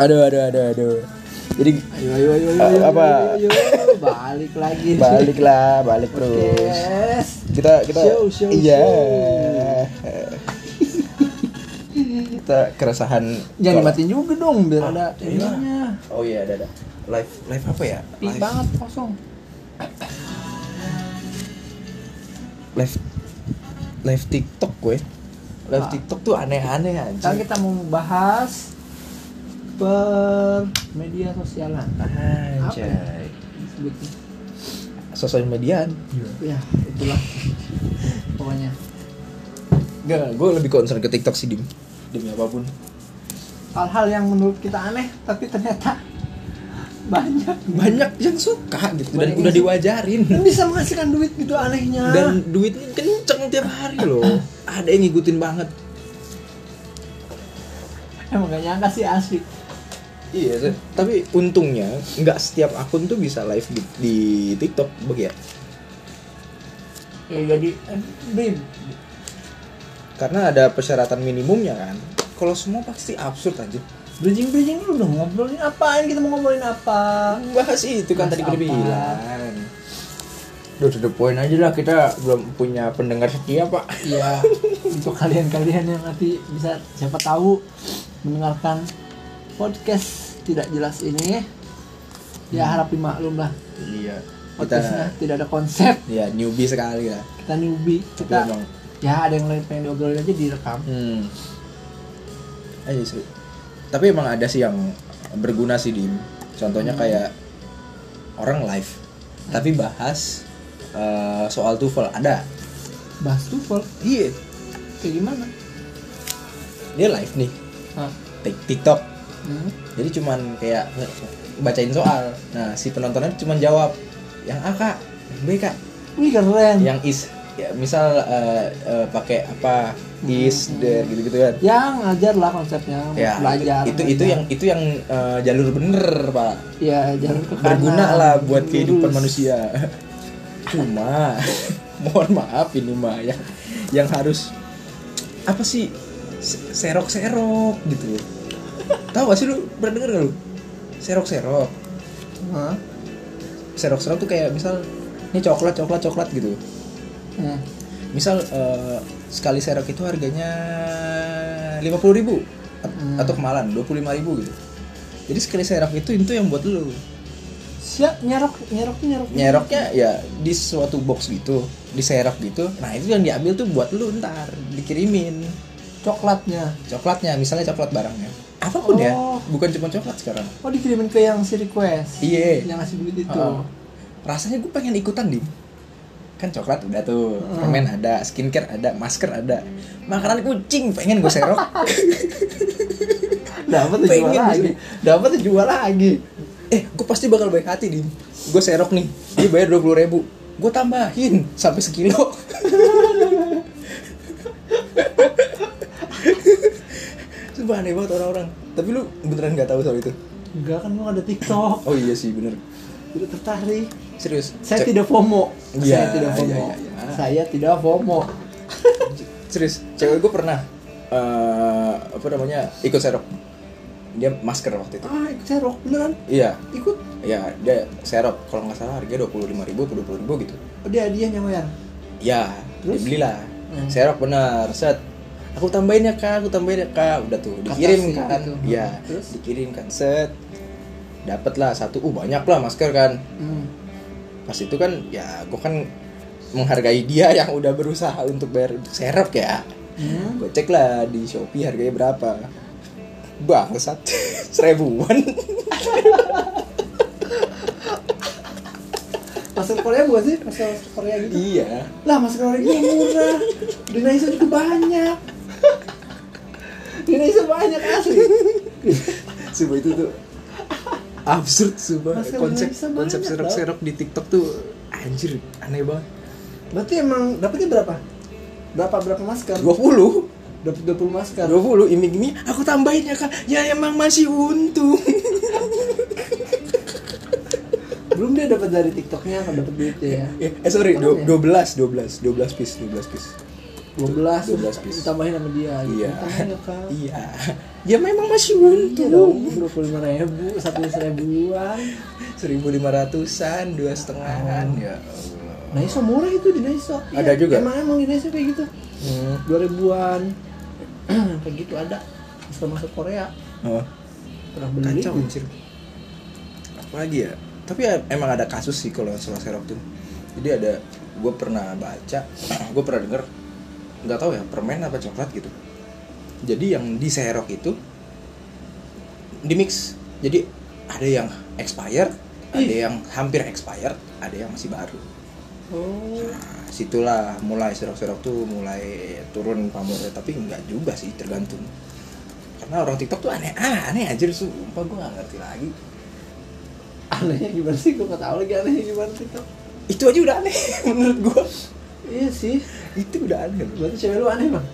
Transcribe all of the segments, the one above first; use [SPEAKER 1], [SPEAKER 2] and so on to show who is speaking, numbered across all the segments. [SPEAKER 1] Aduh, aduh, aduh, aduh. Jadi
[SPEAKER 2] Ayo ayo ayo ayo.
[SPEAKER 1] Eh,
[SPEAKER 2] ayo,
[SPEAKER 1] apa?
[SPEAKER 2] ayo, ayo. Balik lagi.
[SPEAKER 1] baliklah, balik terus.
[SPEAKER 2] Podcast.
[SPEAKER 1] Kita kita
[SPEAKER 2] Iya. Show, show,
[SPEAKER 1] iya.
[SPEAKER 2] show.
[SPEAKER 1] kita keresahan
[SPEAKER 2] Jangan dimatiin juga dong biar
[SPEAKER 1] Ah,
[SPEAKER 2] ada
[SPEAKER 1] iya.
[SPEAKER 2] ininya.
[SPEAKER 1] Oh iya, ada ada. Live live apa ya?
[SPEAKER 2] Pi banget kosong.
[SPEAKER 1] live live TikTok gue. Live
[SPEAKER 2] Ah.
[SPEAKER 1] TikTok tuh aneh-aneh
[SPEAKER 2] Sekarang
[SPEAKER 1] anjing.
[SPEAKER 2] kita mau bahas per media sosialan.
[SPEAKER 1] Anjay.
[SPEAKER 2] Sebutnya.
[SPEAKER 1] Sosial mediaan.
[SPEAKER 2] Ya, itulah pokoknya.
[SPEAKER 1] Enggak, gue lebih concern ke TikTok sih, Dim. Demi apapun.
[SPEAKER 2] Hal-hal yang menurut kita aneh tapi ternyata banyak
[SPEAKER 1] Banyak yang suka gitu dan
[SPEAKER 2] Banyak
[SPEAKER 1] udah
[SPEAKER 2] yang suka.
[SPEAKER 1] diwajarin.
[SPEAKER 2] Dan bisa menghasilkan duit gitu anehnya.
[SPEAKER 1] Dan duitnya kenceng tiap hari loh. Ada yang ngikutin banget.
[SPEAKER 2] emang gak nyangka sih asli.
[SPEAKER 1] Iya, sih. tapi untungnya nggak setiap akun tuh bisa live di, di TikTok, bagi ya.
[SPEAKER 2] Ya jadi eh, Bim,
[SPEAKER 1] Karena ada persyaratan minimumnya kan. Kalau semua pasti absurd aja.
[SPEAKER 2] bridging bridging dulu dong ngobrolin apaan kita mau ngobrolin apa?
[SPEAKER 1] Bahas itu kan
[SPEAKER 2] Bahas
[SPEAKER 1] tadi gue
[SPEAKER 2] apa?
[SPEAKER 1] bilang. Udah to the point aja lah kita belum punya pendengar setia pak.
[SPEAKER 2] Iya, untuk kalian-kalian yang nanti bisa siapa tahu mendengarkan podcast tidak jelas ini ya
[SPEAKER 1] Hmm.
[SPEAKER 2] harap dimaklum lah
[SPEAKER 1] Iya.
[SPEAKER 2] podcastnya
[SPEAKER 1] Kita
[SPEAKER 2] tidak ada konsep
[SPEAKER 1] ya newbie sekali lah.
[SPEAKER 2] kita newbie
[SPEAKER 1] Tapi
[SPEAKER 2] kita
[SPEAKER 1] emang
[SPEAKER 2] ya ada yang lain pengen diobrolin aja direkam
[SPEAKER 1] Hmm. Ayo seru. Tapi emang ada sih yang berguna sih Dim. Contohnya
[SPEAKER 2] Hmm.
[SPEAKER 1] kayak orang live, tapi bahas eh, soal TOEFL ada.
[SPEAKER 2] bahas tuval
[SPEAKER 1] Iya.
[SPEAKER 2] kayak gimana
[SPEAKER 1] Dia live nih,
[SPEAKER 2] Hah?
[SPEAKER 1] tik- TikTok.
[SPEAKER 2] Hmm.
[SPEAKER 1] Jadi cuman kayak bacain soal. Nah si penontonnya cuman jawab yang A kak, yang B kak,
[SPEAKER 2] wih keren
[SPEAKER 1] yang is. Ya, misal eh, eh, pakai apa is there gitu-gitu kan.
[SPEAKER 2] yang Ya, ngajar lah konsepnya
[SPEAKER 1] Ya,
[SPEAKER 2] belajar
[SPEAKER 1] itu itu, itu yang itu yang eh, jalur bener pak.
[SPEAKER 2] ya jalur ke kanan
[SPEAKER 1] berguna lah buat
[SPEAKER 2] lurus.
[SPEAKER 1] kehidupan manusia. Cuma mohon maaf ini mah yang yang harus apa sih se- serok-serok gitu. Tahu gak sih lu pernah denger gak lu? Serok-serok.
[SPEAKER 2] Hah?
[SPEAKER 1] Serok-serok tuh kayak misal ini coklat coklat coklat gitu.
[SPEAKER 2] Hmm.
[SPEAKER 1] Misal eh, sekali serok itu harganya 50.000 ribu atau kemalan 25.000 gitu. Jadi sekali serok itu itu yang buat lu.
[SPEAKER 2] siap nyerok nyerok nyerok
[SPEAKER 1] nyeroknya ya di suatu box gitu diserok gitu nah itu yang diambil tuh buat lu ntar dikirimin
[SPEAKER 2] coklatnya
[SPEAKER 1] coklatnya misalnya coklat barangnya apapun ya
[SPEAKER 2] Oh.
[SPEAKER 1] bukan cuma coklat sekarang
[SPEAKER 2] Oh dikirimin ke yang si request
[SPEAKER 1] Iya.
[SPEAKER 2] Yang ngasih duit itu
[SPEAKER 1] Heeh. rasanya gue pengen ikutan dim kan coklat udah tuh
[SPEAKER 2] Heeh.
[SPEAKER 1] permen ada skincare ada masker ada makanan kucing pengen gue serok
[SPEAKER 2] Dapat dijual
[SPEAKER 1] pengen
[SPEAKER 2] lagi
[SPEAKER 1] dapat dijual lagi eh gue pasti bakal baik hati dim gue serok nih dia bayar dua puluh ribu gue tambahin sampai sekilo Sumpah aneh banget orang-orang Tapi lu beneran gak tahu soal itu?
[SPEAKER 2] Enggak kan gua nggak ada tiktok
[SPEAKER 1] Oh iya sih bener
[SPEAKER 2] Tidak tertarik
[SPEAKER 1] Serius
[SPEAKER 2] Saya
[SPEAKER 1] Cek-
[SPEAKER 2] tidak FOMO
[SPEAKER 1] Iya,
[SPEAKER 2] Saya tidak FOMO
[SPEAKER 1] iya, iya, iya.
[SPEAKER 2] Saya tidak FOMO
[SPEAKER 1] Serius Cewek gue pernah eh Apa namanya Ikut serok Dia masker waktu itu
[SPEAKER 2] Ah ikut serok beneran
[SPEAKER 1] Iya
[SPEAKER 2] Ikut
[SPEAKER 1] Ya dia serok Kalau nggak salah harganya 25 ribu atau 20 ribu gitu
[SPEAKER 2] Udah dia nyawer
[SPEAKER 1] Ya,
[SPEAKER 2] Terus?
[SPEAKER 1] dibelilah.
[SPEAKER 2] Hmm.
[SPEAKER 1] Serok bener, set. Aku tambahin ya kak, aku tambahin ya kak. Udah tuh, dikirim
[SPEAKER 2] sih,
[SPEAKER 1] kan.
[SPEAKER 2] gitu.
[SPEAKER 1] Iya,
[SPEAKER 2] Terus?
[SPEAKER 1] dikirim kan, set. Dapat lah satu, uh banyak lah masker kan.
[SPEAKER 2] hmm.
[SPEAKER 1] Pas itu kan, ya gue kan menghargai dia yang udah berusaha untuk bayar untuk serok ya.
[SPEAKER 2] Hmm.
[SPEAKER 1] Gue cek lah di Shopee harganya berapa. Bangsat, seribuan.
[SPEAKER 2] Masker Korea bukan sih? Masker Korea gitu
[SPEAKER 1] iya.
[SPEAKER 2] Lah masker Korea juga murah Di Naisa juga banyak Di Naisa banyak asli
[SPEAKER 1] Sumpah itu tuh absurd sumpah
[SPEAKER 2] Masker
[SPEAKER 1] konsep
[SPEAKER 2] Indonesia banyak
[SPEAKER 1] konsep
[SPEAKER 2] tau.
[SPEAKER 1] serok-serok di TikTok tuh anjir aneh banget.
[SPEAKER 2] Berarti emang dapetnya berapa? Berapa berapa masker?
[SPEAKER 1] 20
[SPEAKER 2] Dapat 20
[SPEAKER 1] Kan?
[SPEAKER 2] masker.
[SPEAKER 1] 20 ini gini aku tambahin ya kak ya emang masih untung
[SPEAKER 2] Belum dia dapat dari TikToknya apa dapat duitnya ya?
[SPEAKER 1] eh eh, sorry
[SPEAKER 2] Apaan
[SPEAKER 1] dua-
[SPEAKER 2] ya?
[SPEAKER 1] 12 12 12 piece 12 piece
[SPEAKER 2] 12
[SPEAKER 1] 12 piece.
[SPEAKER 2] ditambahin sama dia gitu.
[SPEAKER 1] iya
[SPEAKER 2] Tambahin ya, Kak.
[SPEAKER 1] iya ya memang masih
[SPEAKER 2] Iya dong,
[SPEAKER 1] untung
[SPEAKER 2] dua puluh lima ribu, satu seribuan.
[SPEAKER 1] seribu lima ratusan dua setengahan
[SPEAKER 2] Oh.
[SPEAKER 1] ya Allah.
[SPEAKER 2] Nah, iso murah itu di Daiso.
[SPEAKER 1] Ada juga?
[SPEAKER 2] Emang emang di Daiso kayak gitu.
[SPEAKER 1] Hmm.
[SPEAKER 2] Dua ribuan, kayak gitu ada. Bisa masuk Korea.
[SPEAKER 1] Oh,
[SPEAKER 2] Pernah beli?
[SPEAKER 1] kacau anjir apalagi ya tapi ya, emang ada kasus sih kalau soal serok tuh jadi ada gue pernah baca gue pernah denger nggak tahu ya permen apa coklat gitu jadi yang di serok itu di mix jadi ada yang expired ada yang hampir expired ada yang masih baru
[SPEAKER 2] Oh,
[SPEAKER 1] Nah, situlah mulai serok-serok tuh mulai turun pamornya tapi nggak juga sih tergantung karena orang TikTok tuh aneh-aneh aja sumpah gue nggak ngerti lagi
[SPEAKER 2] anehnya gimana sih? Gue nggak tahu lagi anehnya gimana sih Tok.
[SPEAKER 1] itu aja udah aneh menurut gue
[SPEAKER 2] Iya sih.
[SPEAKER 1] itu udah aneh bro.
[SPEAKER 2] Berarti cewek lu aneh bang?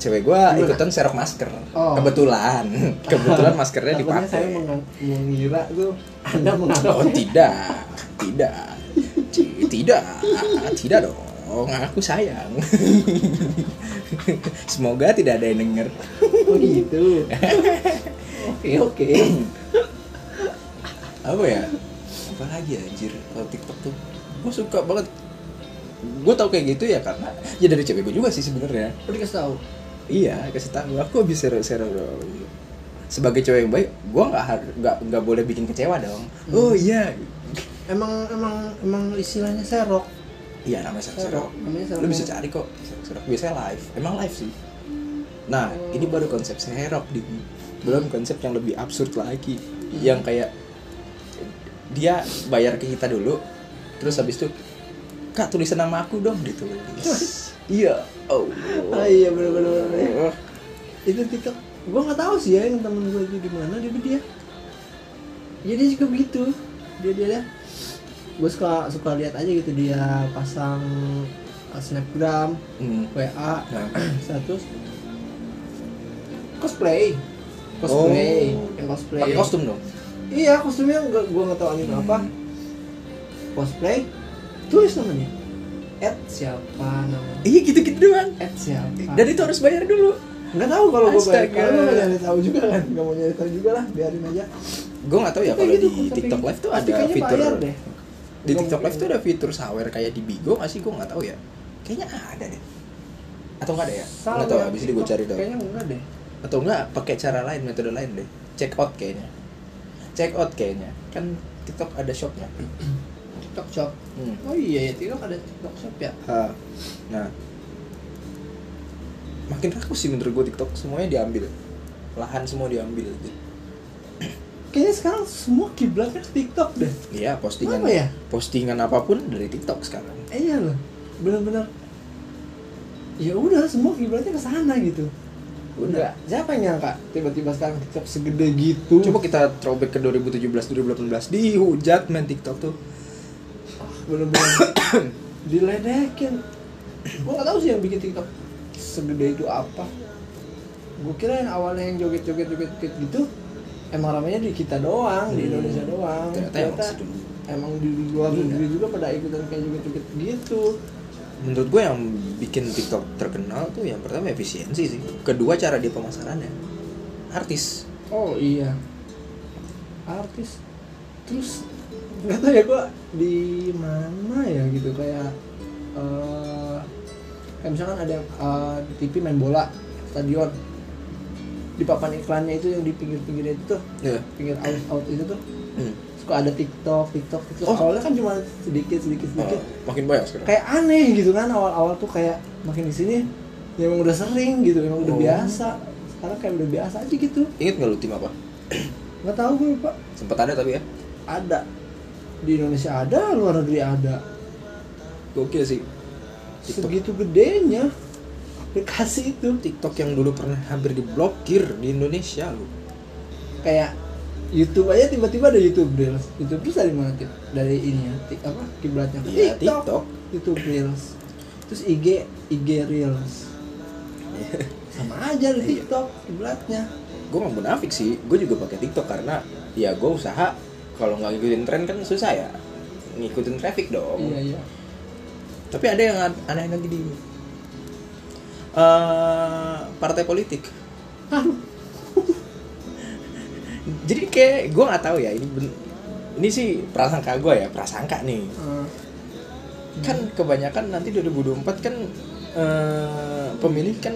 [SPEAKER 1] cewek gue ikutan serok masker
[SPEAKER 2] Oh.
[SPEAKER 1] kebetulan kebetulan maskernya
[SPEAKER 2] Takutnya
[SPEAKER 1] dipakai
[SPEAKER 2] saya mengang- mengira tuh Anda menganggap
[SPEAKER 1] oh tidak tidak Ci- tidak tidak dong aku sayang semoga tidak ada yang denger
[SPEAKER 2] Oh gitu. Oke oke.
[SPEAKER 1] apa ya apa lagi ya, anjir kalau TikTok tuh gue suka banget gue tau kayak gitu ya karena ya dari cewek gue juga sih sebenarnya
[SPEAKER 2] Lu dikasih tahu.
[SPEAKER 1] iya kasih tahu aku bisa seru seru dong sebagai cewek yang baik gue nggak har- nggak nggak boleh bikin kecewa dong oh iya
[SPEAKER 2] Emang emang emang istilahnya serok.
[SPEAKER 1] iya namanya seru seru
[SPEAKER 2] Serok, namanya serok.
[SPEAKER 1] lu bisa cari kok seru seru biasanya live emang live sih nah ini baru konsep serok di belum konsep yang lebih absurd lagi yang kayak dia bayar ke kita dulu terus habis itu kak tulisan nama aku dong ditulis iya oh
[SPEAKER 2] Ah iya bener bener. bener. Itu TikTok. Gua nggak tahu sih ya yang temen gua itu di mana dia dia. Jadi dia suka begitu. Dia dia dia. Gue suka suka lihat aja gitu dia pasang uh, snapgram,
[SPEAKER 1] Hmm.
[SPEAKER 2] WA,
[SPEAKER 1] Nah.
[SPEAKER 2] status cosplay cosplay
[SPEAKER 1] Oh.
[SPEAKER 2] yang cosplay
[SPEAKER 1] pakai kostum dong
[SPEAKER 2] iya kostumnya nggak gua nggak tahu anime apa cosplay tulis namanya at siapa namanya
[SPEAKER 1] iya gitu gitu doang
[SPEAKER 2] at siapa
[SPEAKER 1] dan itu harus bayar dulu
[SPEAKER 2] nggak tahu kalau gua bayar
[SPEAKER 1] Astaga.
[SPEAKER 2] kalau nggak nyari tahu juga kan nggak mau nyari tahu juga lah biarin aja
[SPEAKER 1] gue nggak tahu ya
[SPEAKER 2] Tapi
[SPEAKER 1] kalau
[SPEAKER 2] gitu,
[SPEAKER 1] di
[SPEAKER 2] tapi
[SPEAKER 1] TikTok
[SPEAKER 2] gitu.
[SPEAKER 1] Live tuh
[SPEAKER 2] Pasti
[SPEAKER 1] ada
[SPEAKER 2] kayaknya
[SPEAKER 1] fitur
[SPEAKER 2] bayar deh.
[SPEAKER 1] di TikTok
[SPEAKER 2] Nggak
[SPEAKER 1] Live tuh ada fitur sawer kayak di Bigo nggak sih gue nggak tahu ya kayaknya ada deh atau nggak ada ya nggak tahu
[SPEAKER 2] ya,
[SPEAKER 1] abis ini gue
[SPEAKER 2] TikTok.
[SPEAKER 1] cari dong
[SPEAKER 2] kayaknya enggak deh
[SPEAKER 1] atau nggak pakai cara lain metode lain deh check out kayaknya check out kayaknya kan TikTok ada shopnya
[SPEAKER 2] TikTok shop
[SPEAKER 1] Hmm.
[SPEAKER 2] oh iya ya TikTok ada TikTok shop ya
[SPEAKER 1] Ah, nah makin rakus sih menurut gue TikTok semuanya diambil lahan semua diambil
[SPEAKER 2] kayaknya sekarang semua kiblatnya ke TikTok deh
[SPEAKER 1] iya postingan
[SPEAKER 2] Kenapa ya?
[SPEAKER 1] postingan apapun dari TikTok sekarang
[SPEAKER 2] Eh, iya loh benar-benar ya udah semua kiblatnya ke sana gitu
[SPEAKER 1] udah
[SPEAKER 2] siapa yang nyangka tiba-tiba sekarang TikTok segede gitu
[SPEAKER 1] Coba kita throwback ke 2017 2018 dihujat main TikTok tuh.
[SPEAKER 2] benar-benar diledekin gua gak tahu sih yang bikin TikTok segede itu apa gua kira yang awalnya yang joget-joget joget-joget gitu emang ramainya di kita doang di Indonesia doang
[SPEAKER 1] Ternyata emang sedunia.
[SPEAKER 2] emang di luar
[SPEAKER 1] Iya.
[SPEAKER 2] negeri juga pada ikutan kayak joget-joget gitu
[SPEAKER 1] Menurut gue yang bikin TikTok terkenal tuh yang pertama efisiensi sih. Kedua cara dia pemasarannya. Artis.
[SPEAKER 2] Oh iya. Artis. Terus nggak tahu ya gua di mana ya gitu kayak eh kayak misalkan ada yang eh, di TV main bola stadion di papan iklannya itu yang di pinggir-pinggir itu tuh
[SPEAKER 1] Ya.
[SPEAKER 2] pinggir out out itu tuh
[SPEAKER 1] Hmm.
[SPEAKER 2] suka ada TikTok TikTok TikTok
[SPEAKER 1] Oh.
[SPEAKER 2] awalnya kan cuma sedikit sedikit sedikit
[SPEAKER 1] Oh, makin banyak sekarang.
[SPEAKER 2] kayak aneh gitu kan awal-awal tuh kayak makin di sini ya emang udah sering gitu emang udah
[SPEAKER 1] Oh.
[SPEAKER 2] biasa sekarang kayak udah biasa aja gitu
[SPEAKER 1] Ingat nggak lu tim apa?
[SPEAKER 2] nggak tahu gue lupa
[SPEAKER 1] Sempat ada tapi ya.
[SPEAKER 2] ada di Indonesia ada luar negeri ada
[SPEAKER 1] Gokil sih. TikTok.
[SPEAKER 2] segitu gedenya aplikasi itu
[SPEAKER 1] TikTok yang dulu pernah hampir diblokir di Indonesia lu.
[SPEAKER 2] kayak YouTube aja tiba-tiba ada YouTube Reels YouTube Reels dari mana Tip? dari ini ya Tik- apa kiblatnya ke
[SPEAKER 1] Iya, TikTok.
[SPEAKER 2] YouTube Reels terus IG IG Reels sama aja di TikTok kiblatnya
[SPEAKER 1] gue nggak munafik sih gue juga pakai TikTok karena ya gue usaha kalau nggak ngikutin tren kan susah ya ngikutin traffic dong
[SPEAKER 2] iya iya
[SPEAKER 1] tapi ada yang an- aneh lagi di eh, partai politik jadi kayak gue nggak tahu ya ini ben- ini sih prasangka gue ya prasangka nih
[SPEAKER 2] Eh,
[SPEAKER 1] kan kebanyakan nanti 2024 kan eh, pemilih kan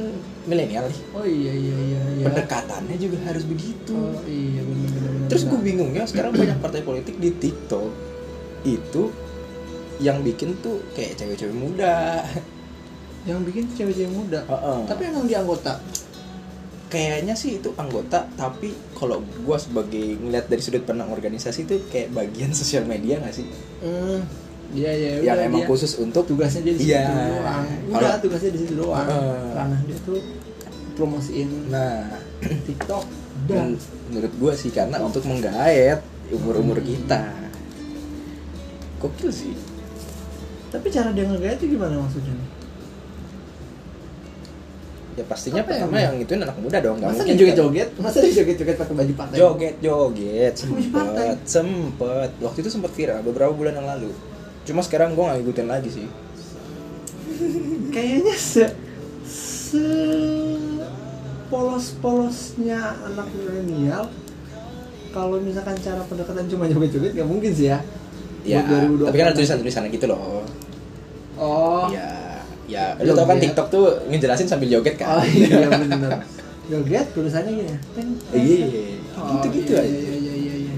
[SPEAKER 1] milenial nih
[SPEAKER 2] oh iya iya iya iya
[SPEAKER 1] pendekatannya juga harus begitu
[SPEAKER 2] oh iya benar benar benar,
[SPEAKER 1] terus gue
[SPEAKER 2] benar.
[SPEAKER 1] bingungnya sekarang banyak partai politik di TikTok itu yang bikin tuh kayak cewek-cewek muda
[SPEAKER 2] yang bikin tuh cewek-cewek muda
[SPEAKER 1] Heeh.
[SPEAKER 2] tapi emang di anggota
[SPEAKER 1] kayaknya sih itu anggota tapi kalau gua sebagai ngeliat dari sudut pandang organisasi itu kayak bagian sosial media nggak sih
[SPEAKER 2] hmm iya iya
[SPEAKER 1] yang
[SPEAKER 2] udah,
[SPEAKER 1] emang
[SPEAKER 2] dia-
[SPEAKER 1] khusus untuk
[SPEAKER 2] tugasnya dia di situ
[SPEAKER 1] Iya.
[SPEAKER 2] doang udah
[SPEAKER 1] Kalau-
[SPEAKER 2] tugasnya di situ doang
[SPEAKER 1] Heeh.
[SPEAKER 2] karena dia tuh promosiin
[SPEAKER 1] nah
[SPEAKER 2] TikTok
[SPEAKER 1] men-
[SPEAKER 2] dan
[SPEAKER 1] menurut gua sih karena untuk menggaet umur umur
[SPEAKER 2] Hmm.
[SPEAKER 1] kita kokil sih Hmm.
[SPEAKER 2] tapi cara dia ngegaya itu gimana maksudnya nih?
[SPEAKER 1] ya pastinya
[SPEAKER 2] Apa ya,
[SPEAKER 1] pertama
[SPEAKER 2] Bang?
[SPEAKER 1] yang ituin anak muda dong nggak
[SPEAKER 2] masa
[SPEAKER 1] mungkin
[SPEAKER 2] dia joget joget masa dia joget joget pakai baju
[SPEAKER 1] kan.
[SPEAKER 2] partai
[SPEAKER 1] joget joget
[SPEAKER 2] Habis partai.
[SPEAKER 1] sempet sempet waktu itu sempet viral beberapa bulan yang lalu cuma sekarang gua nggak ngikutin lagi sih
[SPEAKER 2] kayaknya se se polos polosnya anak milenial kalau misalkan cara pendekatan cuma joget joget nggak mungkin sih ya
[SPEAKER 1] ya
[SPEAKER 2] Buat 2024.
[SPEAKER 1] tapi kan ada tulisan tulisan gitu loh
[SPEAKER 2] oh
[SPEAKER 1] Ya, ya lu tau kan
[SPEAKER 2] Joget.
[SPEAKER 1] TikTok tuh ngejelasin sambil joget kan?
[SPEAKER 2] oh iya benar joget tulisannya gini ya teng, teng,
[SPEAKER 1] Iya.
[SPEAKER 2] teng. Oh,
[SPEAKER 1] Gitu-gitu
[SPEAKER 2] iya,
[SPEAKER 1] aja.
[SPEAKER 2] iya iya iya iya iya.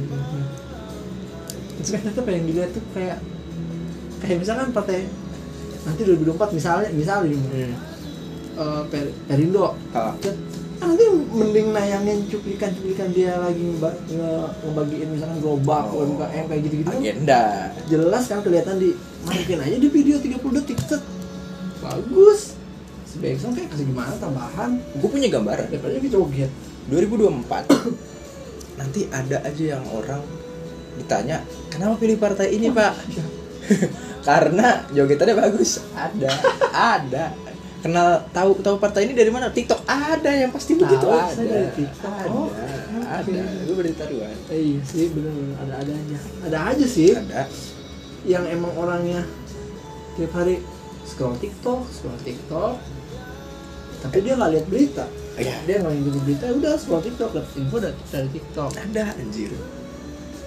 [SPEAKER 2] Tapi tetap yang dilihat tuh kayak kayak misalkan partai nanti 2024 misalnya misalnya
[SPEAKER 1] Hmm.
[SPEAKER 2] eh, Per- Perindo
[SPEAKER 1] Ah,
[SPEAKER 2] Kan nanti mending nayangin cuplikan-cuplikan dia lagi ngeba- nge- ngebagiin misalkan gerobak,
[SPEAKER 1] Oh.
[SPEAKER 2] UMKM kayak gitu-gitu
[SPEAKER 1] agenda.
[SPEAKER 2] jelas kan kelihatan di masukin aja di video 30 detik set bagus sebaik kayak kasih gimana tambahan
[SPEAKER 1] Gue punya gambaran.
[SPEAKER 2] daripada dia joget
[SPEAKER 1] 2024 nanti ada aja yang orang ditanya kenapa pilih partai ini pak? Karena jogetannya bagus. Ada, ada. Kenal tahu tahu partai ini dari mana? TikTok ada yang pasti begitu
[SPEAKER 2] Tahu,
[SPEAKER 1] ada.
[SPEAKER 2] saya dari TikTok.
[SPEAKER 1] Ada,
[SPEAKER 2] Oh, oke.
[SPEAKER 1] ada. Gue berita taruhan.
[SPEAKER 2] eh, iya sih bener bener ada ada aja ada aja sih
[SPEAKER 1] Ada.
[SPEAKER 2] yang emang orangnya tiap hari scroll TikTok scroll TikTok tapi dia nggak lihat berita
[SPEAKER 1] Iya.
[SPEAKER 2] dia nggak ngikutin berita udah scroll TikTok dapat info dat- dari TikTok
[SPEAKER 1] Ada anjir.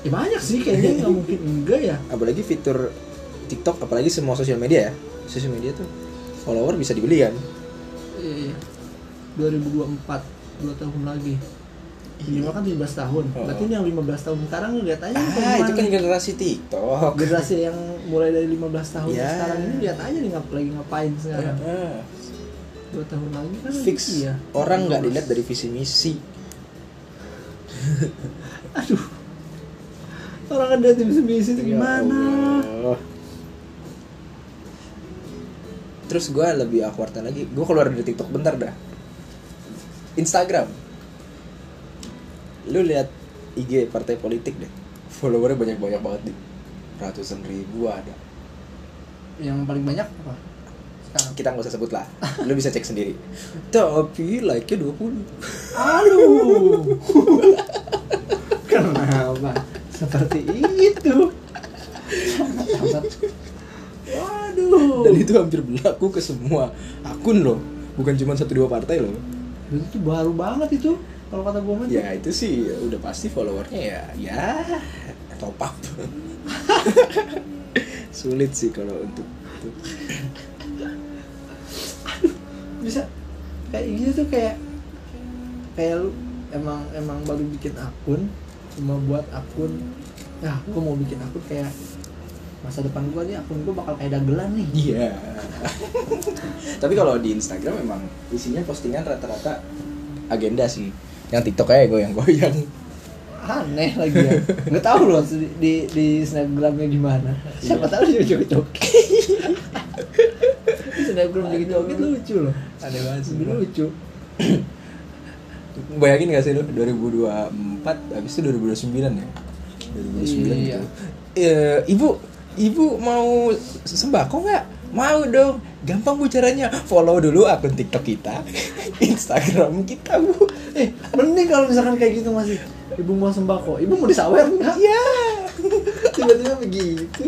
[SPEAKER 2] ya banyak sih kayaknya nggak mungkin enggak ya
[SPEAKER 1] apalagi fitur TikTok apalagi semua sosial media ya sosial media tuh follower bisa dibeli kan
[SPEAKER 2] iya iya 2024 dua tahun lagi minimal kan 17 tahun
[SPEAKER 1] Oh.
[SPEAKER 2] berarti ini yang 15 tahun sekarang lihat aja nih
[SPEAKER 1] ah itu
[SPEAKER 2] kemana.
[SPEAKER 1] kan generasi TikTok
[SPEAKER 2] generasi yang mulai dari 15 tahun
[SPEAKER 1] Ya.
[SPEAKER 2] sekarang ini lihat aja nih ngap lagi ngapain sekarang
[SPEAKER 1] Ah,
[SPEAKER 2] dua tahun lagi kan
[SPEAKER 1] fix
[SPEAKER 2] iya.
[SPEAKER 1] orang nggak dilihat dari visi misi
[SPEAKER 2] aduh orang ada tim sendiri itu gimana
[SPEAKER 1] Ya Allah. terus gue lebih awkwardnya lagi gue keluar dari TikTok bentar dah Instagram lu lihat IG partai politik deh followernya banyak banyak banget nih ratusan ribu ada
[SPEAKER 2] yang paling banyak apa sekarang
[SPEAKER 1] kita nggak usah sebut lah lu bisa cek sendiri tapi like nya 20
[SPEAKER 2] aduh kenapa seperti itu Sangat-sangat. waduh
[SPEAKER 1] dan itu hampir berlaku ke semua akun loh bukan cuma satu dua partai loh
[SPEAKER 2] Berarti itu baru banget itu kalau kata gue mah
[SPEAKER 1] ya itu sih udah pasti followernya ya ya top up sulit sih kalau untuk untuk
[SPEAKER 2] bisa kayak gitu tuh kayak kayak lu emang emang baru bikin akun cuma buat akun ya gue mau bikin akun kayak masa depan gue nih akun gue bakal kayak dagelan nih
[SPEAKER 1] iya tapi kalau di Instagram memang isinya postingan rata-rata agenda sih yang TikTok aja goyang-goyang
[SPEAKER 2] aneh lagi ya nggak tahu loh di di, di snapgramnya gimana siapa tahu dia joget joget snapgram joget joget lucu loh
[SPEAKER 1] ada banget
[SPEAKER 2] Lebih lucu
[SPEAKER 1] Bayangin gak sih lu 2024 habis itu 2029 ya? 2029
[SPEAKER 2] Iya.
[SPEAKER 1] gitu. Eh, ibu, ibu mau sembako nggak? Mau dong. Gampang bu caranya. Follow dulu akun TikTok kita, Instagram kita bu.
[SPEAKER 2] eh mending kalau misalkan kayak gitu masih ibu mau sembako ibu mau disawer nggak
[SPEAKER 1] Iya.
[SPEAKER 2] tiba-tiba begitu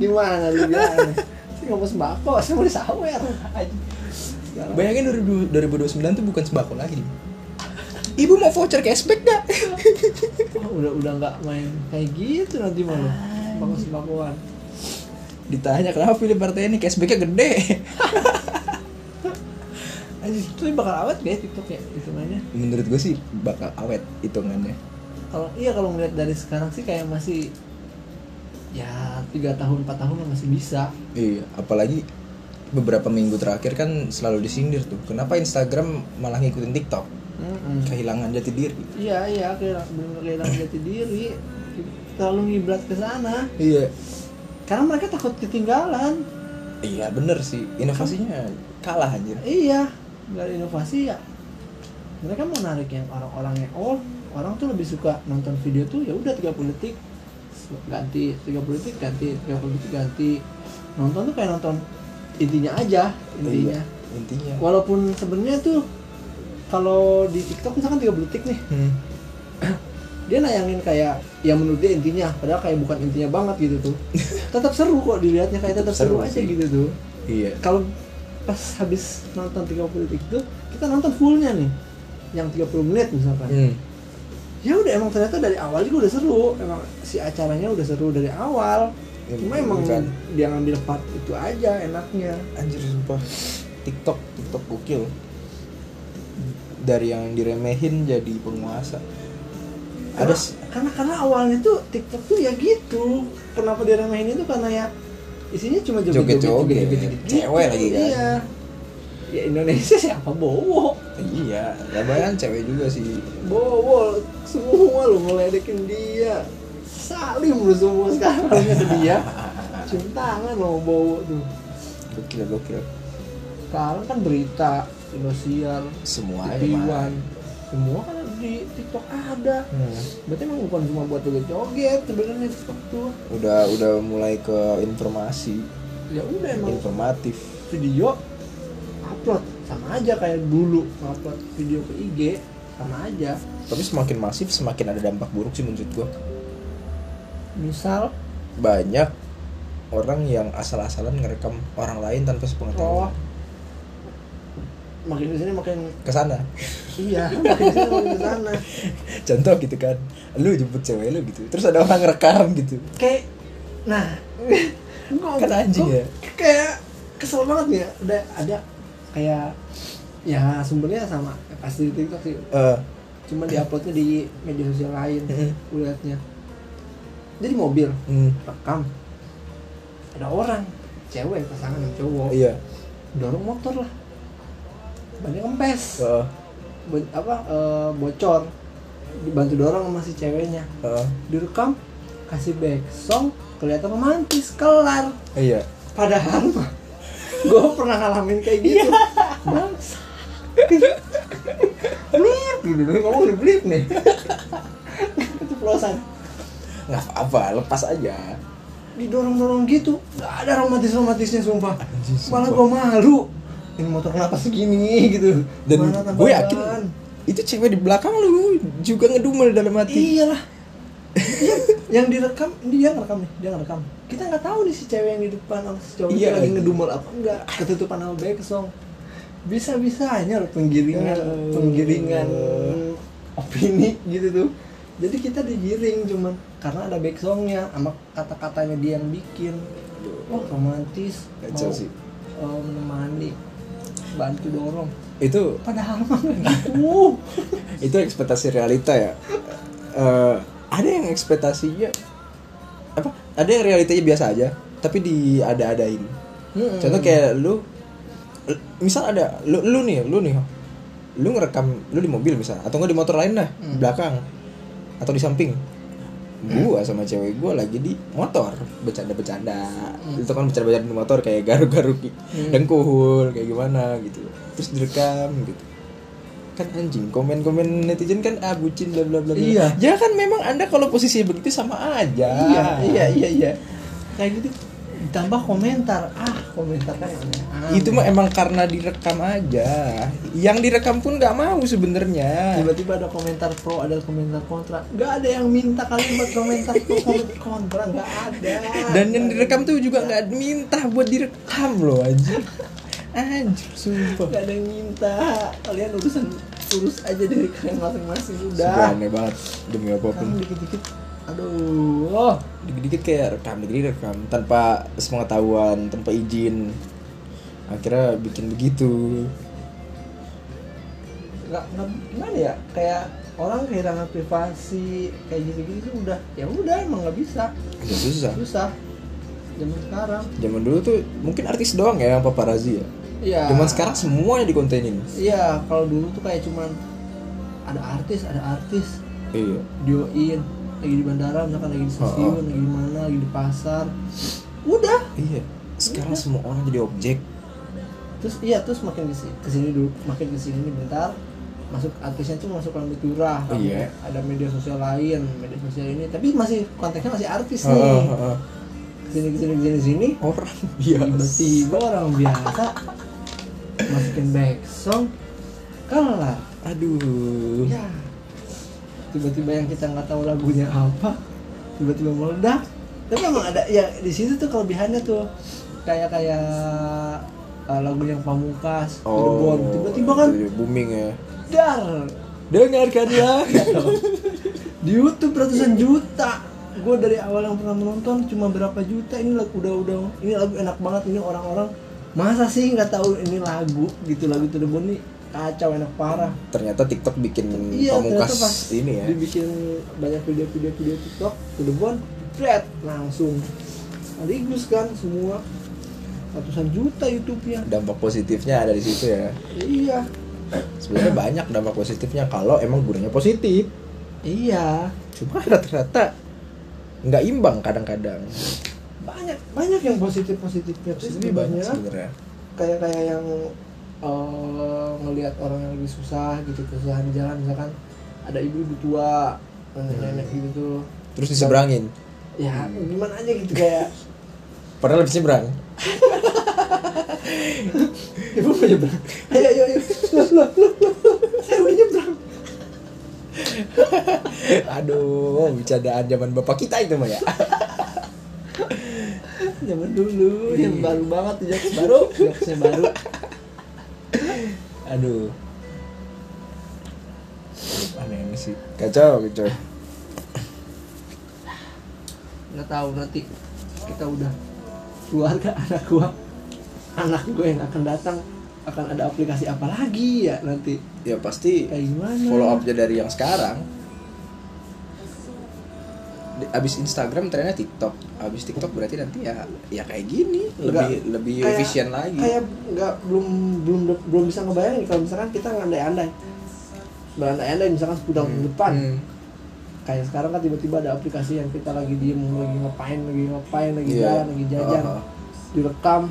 [SPEAKER 2] gimana lu bilangnya saya nggak mau sembako saya mau disawer Segala-
[SPEAKER 1] Bayangin 2000 2029 tuh bukan sembako lagi. Ibu mau voucher cashback nggak?
[SPEAKER 2] udah udah nggak main kayak gitu nanti malu sembako sembakoan
[SPEAKER 1] Ditanya kenapa pilih partai ini cashbacknya gede.
[SPEAKER 2] Anjir, itu bakal awet gak ya TikTok ya hitungannya
[SPEAKER 1] Menurut gue sih bakal awet hitungannya.
[SPEAKER 2] kalau iya kalau ngeliat dari sekarang sih kayak masih ya tiga tahun empat tahun masih bisa
[SPEAKER 1] Iya, apalagi beberapa minggu terakhir kan selalu disindir tuh. Kenapa Instagram malah ngikutin TikTok?
[SPEAKER 2] Mm-mm.
[SPEAKER 1] Kehilangan jati diri.
[SPEAKER 2] iya iya kayak benar kehilangan jati diri terlalu ngiblat ke sana
[SPEAKER 1] Iya.
[SPEAKER 2] karena mereka takut ketinggalan
[SPEAKER 1] Iya bener sih. Inovasinya kalah anjir.
[SPEAKER 2] iya nggak ada inovasi ya mereka mau narik yang orang-orang yang old orang tuh lebih suka nonton video tuh ya udah 30 detik ganti 30 detik ganti 30 detik ganti nonton tuh kayak nonton intinya aja intinya
[SPEAKER 1] Iya, intinya.
[SPEAKER 2] walaupun sebenarnya tuh kalau di TikTok misalkan 30 detik nih
[SPEAKER 1] Hmm.
[SPEAKER 2] dia nayangin kayak yang menurut dia intinya padahal kayak bukan intinya banget gitu tuh tetap seru kok dilihatnya kayak tetap,
[SPEAKER 1] Tetap seru
[SPEAKER 2] seru, aja
[SPEAKER 1] sih.
[SPEAKER 2] gitu tuh
[SPEAKER 1] Iya.
[SPEAKER 2] kalau pas habis nonton 30 detik tuh kita nonton fullnya nih yang 30 menit misalkan
[SPEAKER 1] Hmm.
[SPEAKER 2] ya udah emang ternyata dari awal juga udah seru emang si acaranya udah seru dari awal
[SPEAKER 1] Ya,
[SPEAKER 2] cuma emang
[SPEAKER 1] bukan.
[SPEAKER 2] dia ngambil part itu aja enaknya
[SPEAKER 1] Anjir sumpah. TikTok, TikTok gokil. Dari yang diremehin jadi penguasa. Ada
[SPEAKER 2] karena,
[SPEAKER 1] s-
[SPEAKER 2] karena karena awalnya tuh TikTok tuh ya gitu kenapa diremehin itu karena ya isinya cuma joget-joget
[SPEAKER 1] Joget-joget,
[SPEAKER 2] joget-joget gitu.
[SPEAKER 1] cewek lagi kan.
[SPEAKER 2] iya ya Indonesia siapa bowo
[SPEAKER 1] Iya, labaran cewek juga sih.
[SPEAKER 2] bowo semua lu meledekin dia salim lu semua sekarang ke dia cium tangan lo bowo tuh
[SPEAKER 1] Gokil, gokil.
[SPEAKER 2] sekarang kan berita Indosiar
[SPEAKER 1] Semua
[SPEAKER 2] TV One semua kan di TikTok ada
[SPEAKER 1] Hmm.
[SPEAKER 2] berarti emang bukan cuma buat joget-joget sebenarnya TikTok tuh
[SPEAKER 1] Udah udah mulai ke informasi,
[SPEAKER 2] ya udah emang
[SPEAKER 1] informatif.
[SPEAKER 2] video upload sama aja kayak dulu upload video ke IG sama aja
[SPEAKER 1] Tapi semakin masif semakin ada dampak buruk sih menurut gua.
[SPEAKER 2] misal
[SPEAKER 1] Banyak orang yang asal-asalan ngerekam orang lain tanpa
[SPEAKER 2] oh
[SPEAKER 1] sepengetahuan
[SPEAKER 2] makin kesini makin
[SPEAKER 1] ke sana.
[SPEAKER 2] iya makin kesini makin kesana
[SPEAKER 1] Contoh gitu kan. Lu jemput cewek lu gitu. Terus ada orang rekam gitu.
[SPEAKER 2] kayak nah gua-
[SPEAKER 1] Kan anjing ya?
[SPEAKER 2] gua kayak kesel banget nih ya ada ada kayak ya sumbernya sama pasti di TikTok sih
[SPEAKER 1] Eh,
[SPEAKER 2] cuma diuploadnya di media sosial lain
[SPEAKER 1] Mm.
[SPEAKER 2] liatnya jadi mobil
[SPEAKER 1] hmm,
[SPEAKER 2] rekam ada orang cewek pasangan yang cowok
[SPEAKER 1] iya.
[SPEAKER 2] dorong motor lah bannya kempes
[SPEAKER 1] Heeh.
[SPEAKER 2] Bo- apa eh, bocor dibantu dorong sama si ceweknya
[SPEAKER 1] heeh.
[SPEAKER 2] direkam kasih back song kelihatan romantis kelar
[SPEAKER 1] iya.
[SPEAKER 2] padahal mah gue pernah ngalamin kayak gitu bangsa blip dulu dulu kamu udah blip nih keceplosan
[SPEAKER 1] Nggak apa-apa, lepas aja.
[SPEAKER 2] didorong-dorong gitu nggak ada romantis-romantisnya sumpah
[SPEAKER 1] Anjing, sumpah.
[SPEAKER 2] malah gue malu ini motor kenapa segini gitu
[SPEAKER 1] Dan
[SPEAKER 2] Mana tambah
[SPEAKER 1] gue yakin
[SPEAKER 2] ban?
[SPEAKER 1] itu cewek di belakang lu juga ngedumel dalam hati.
[SPEAKER 2] iyalah Iya, yang direkam dia ngerekam nih dia ngerekam kita nggak tahu nih si cewek yang di depan sama si cowok
[SPEAKER 1] Iya,
[SPEAKER 2] lagi
[SPEAKER 1] lagi.
[SPEAKER 2] ngedumel apa enggak ketutupan sama back song bisa bisanya penggiringan
[SPEAKER 1] Eh.
[SPEAKER 2] penggiringan opini gitu tuh jadi kita digiring cuman karena ada back songnya sama kata-katanya dia yang bikin wah romantis
[SPEAKER 1] Kacau
[SPEAKER 2] mau,
[SPEAKER 1] sih.
[SPEAKER 2] eh, menemani bantu dorong
[SPEAKER 1] Itu
[SPEAKER 2] padahal mah nggak gitu
[SPEAKER 1] itu ekspektasi realita ya Eh, ada yang ekspektasinya apa ada yang realitanya biasa aja tapi diada-adain
[SPEAKER 2] Mm-mm.
[SPEAKER 1] contoh kayak lu l- misal ada lu, lu nih lu nih lu ngerekam lu di mobil misal atau nggak di motor lain lah
[SPEAKER 2] Hmm.
[SPEAKER 1] belakang atau di samping gua sama cewek gua lagi di motor bercanda-bercanda
[SPEAKER 2] Hmm.
[SPEAKER 1] itu kan bercanda-bercanda di motor kayak garuk-garuk
[SPEAKER 2] Hmm.
[SPEAKER 1] dengkul kayak gimana gitu terus direkam gitu kan anjing komen-komen netizen kan ah bucin bla bla bla bla.
[SPEAKER 2] Iya.
[SPEAKER 1] ya kan memang anda kalau posisi begitu sama aja
[SPEAKER 2] iya iya iya iya kayak gitu ditambah komentar ah komentar kan aneh-aneh.
[SPEAKER 1] itu mah emang karena direkam aja yang direkam pun nggak mau sebenarnya
[SPEAKER 2] tiba-tiba ada komentar pro ada komentar kontra nggak ada yang minta kalimat komentar pro komentar kontra nggak ada
[SPEAKER 1] dan yang direkam tuh juga nggak minta buat direkam loh anjing anjir sumpah
[SPEAKER 2] nggak ada yang minta kalian urusan urus aja dari kalian masing-masing
[SPEAKER 1] Sumpah
[SPEAKER 2] udah
[SPEAKER 1] aneh banget demi
[SPEAKER 2] sekarang
[SPEAKER 1] apapun
[SPEAKER 2] dikit-dikit aduh oh.
[SPEAKER 1] dikit-dikit kayak rekam dikit rekam tanpa sepengetahuan tanpa izin akhirnya bikin begitu
[SPEAKER 2] nggak nggak gimana ya kayak orang kehilangan privasi kayak gitu-gitu tuh udah ya udah emang nggak bisa
[SPEAKER 1] Agak susah
[SPEAKER 2] susah zaman sekarang
[SPEAKER 1] zaman dulu tuh mungkin artis doang ya yang paparazi ya
[SPEAKER 2] iya
[SPEAKER 1] zaman sekarang semuanya dikontenin
[SPEAKER 2] iya kalau dulu tuh kayak cuman ada artis ada artis
[SPEAKER 1] iya
[SPEAKER 2] dioin lagi di bandara misalkan lagi di stasiun
[SPEAKER 1] Oh, oh.
[SPEAKER 2] lagi di mana lagi di pasar udah
[SPEAKER 1] iya sekarang semua orang jadi objek
[SPEAKER 2] terus iya terus makin ke kesini dulu makin kesini nih bentar masuk artisnya tuh masuk ke turah
[SPEAKER 1] Iya.
[SPEAKER 2] ada media sosial lain media sosial ini tapi masih konteksnya masih artis nih
[SPEAKER 1] Heeh, heeh.
[SPEAKER 2] kesini kesini kesini kesini
[SPEAKER 1] orang biasa
[SPEAKER 2] tiba-tiba orang biasa masukin back song kalah
[SPEAKER 1] aduh
[SPEAKER 2] ya tiba-tiba yang kita nggak tahu lagunya apa tiba-tiba meledak tapi emang ada ya di situ tuh kelebihannya tuh kayak kayak eh, lagu yang pamungkas Cirebon tiba-tiba kan
[SPEAKER 1] itu Oh, booming ya
[SPEAKER 2] dar
[SPEAKER 1] dengarkanlah
[SPEAKER 2] di YouTube ratusan juta gue dari awal yang pernah menonton cuma berapa juta ini lagu udah udah ini lagu enak banget ini orang-orang masa sih nggak tahu ini lagu gitu lagu Cirebon nih kacau enak parah
[SPEAKER 1] ternyata TikTok bikin
[SPEAKER 2] Iya,
[SPEAKER 1] pamungkas
[SPEAKER 2] ternyata pas
[SPEAKER 1] ini ya
[SPEAKER 2] dibikin banyak video-video video TikTok, Cirebon, flat langsung sekaligus kan semua ratusan juta YouTube-nya.
[SPEAKER 1] dampak positifnya ada di situ ya
[SPEAKER 2] Iya.
[SPEAKER 1] sebenarnya banyak dampak positifnya kalau emang gunanya positif
[SPEAKER 2] Iya.
[SPEAKER 1] cuma rata-rata nggak imbang kadang-kadang
[SPEAKER 2] Banyak banyak yang positif-positifnya.
[SPEAKER 1] positif
[SPEAKER 2] Positif
[SPEAKER 1] banyak
[SPEAKER 2] banyak.
[SPEAKER 1] sebenarnya
[SPEAKER 2] Kayak kayak yang eh, ngelihat orang yang lebih susah gitu kesusahan di jalan misalkan ada ibu-ibu tua
[SPEAKER 1] Hmm.
[SPEAKER 2] nenek-nenek gitu tuh
[SPEAKER 1] terus diseberangin
[SPEAKER 2] ya gimana aja gitu kayak
[SPEAKER 1] padahal lebih seberang
[SPEAKER 2] Ibu mau nyebrang. Ayo, ayo, ayo. Loh, loh, loh, loh, loh. Saya udah nyebrang.
[SPEAKER 1] aduh bercandaan zaman bapak kita itu mah ya
[SPEAKER 2] Zaman dulu, yang
[SPEAKER 1] Iya.
[SPEAKER 2] baru banget, jokes baru, jokesnya baru.
[SPEAKER 1] aduh aneh aneh sih kacau kacau
[SPEAKER 2] Nggak tahu nanti kita udah keluarga anak gua, anak gua yang akan datang akan ada aplikasi apa lagi ya nanti
[SPEAKER 1] ya pasti
[SPEAKER 2] kayak gimana?
[SPEAKER 1] follow upnya dari yang sekarang Di- abis Instagram trennya TikTok abis TikTok berarti nanti ya ya kayak gini lebih
[SPEAKER 2] Nggak,
[SPEAKER 1] lebih
[SPEAKER 2] kayak-
[SPEAKER 1] efisien lagi
[SPEAKER 2] Kayak nggak belum belum belum bisa ngebayangin kalau misalkan kita ngandai-andai berandai-andai misalkan 10 tahun ke depan
[SPEAKER 1] Hmm.
[SPEAKER 2] kayak sekarang kan tiba-tiba ada aplikasi yang kita lagi diem lagi ngapain lagi ngapain lagi
[SPEAKER 1] Iya.
[SPEAKER 2] jalan lagi jajan
[SPEAKER 1] Ah, ah.
[SPEAKER 2] direkam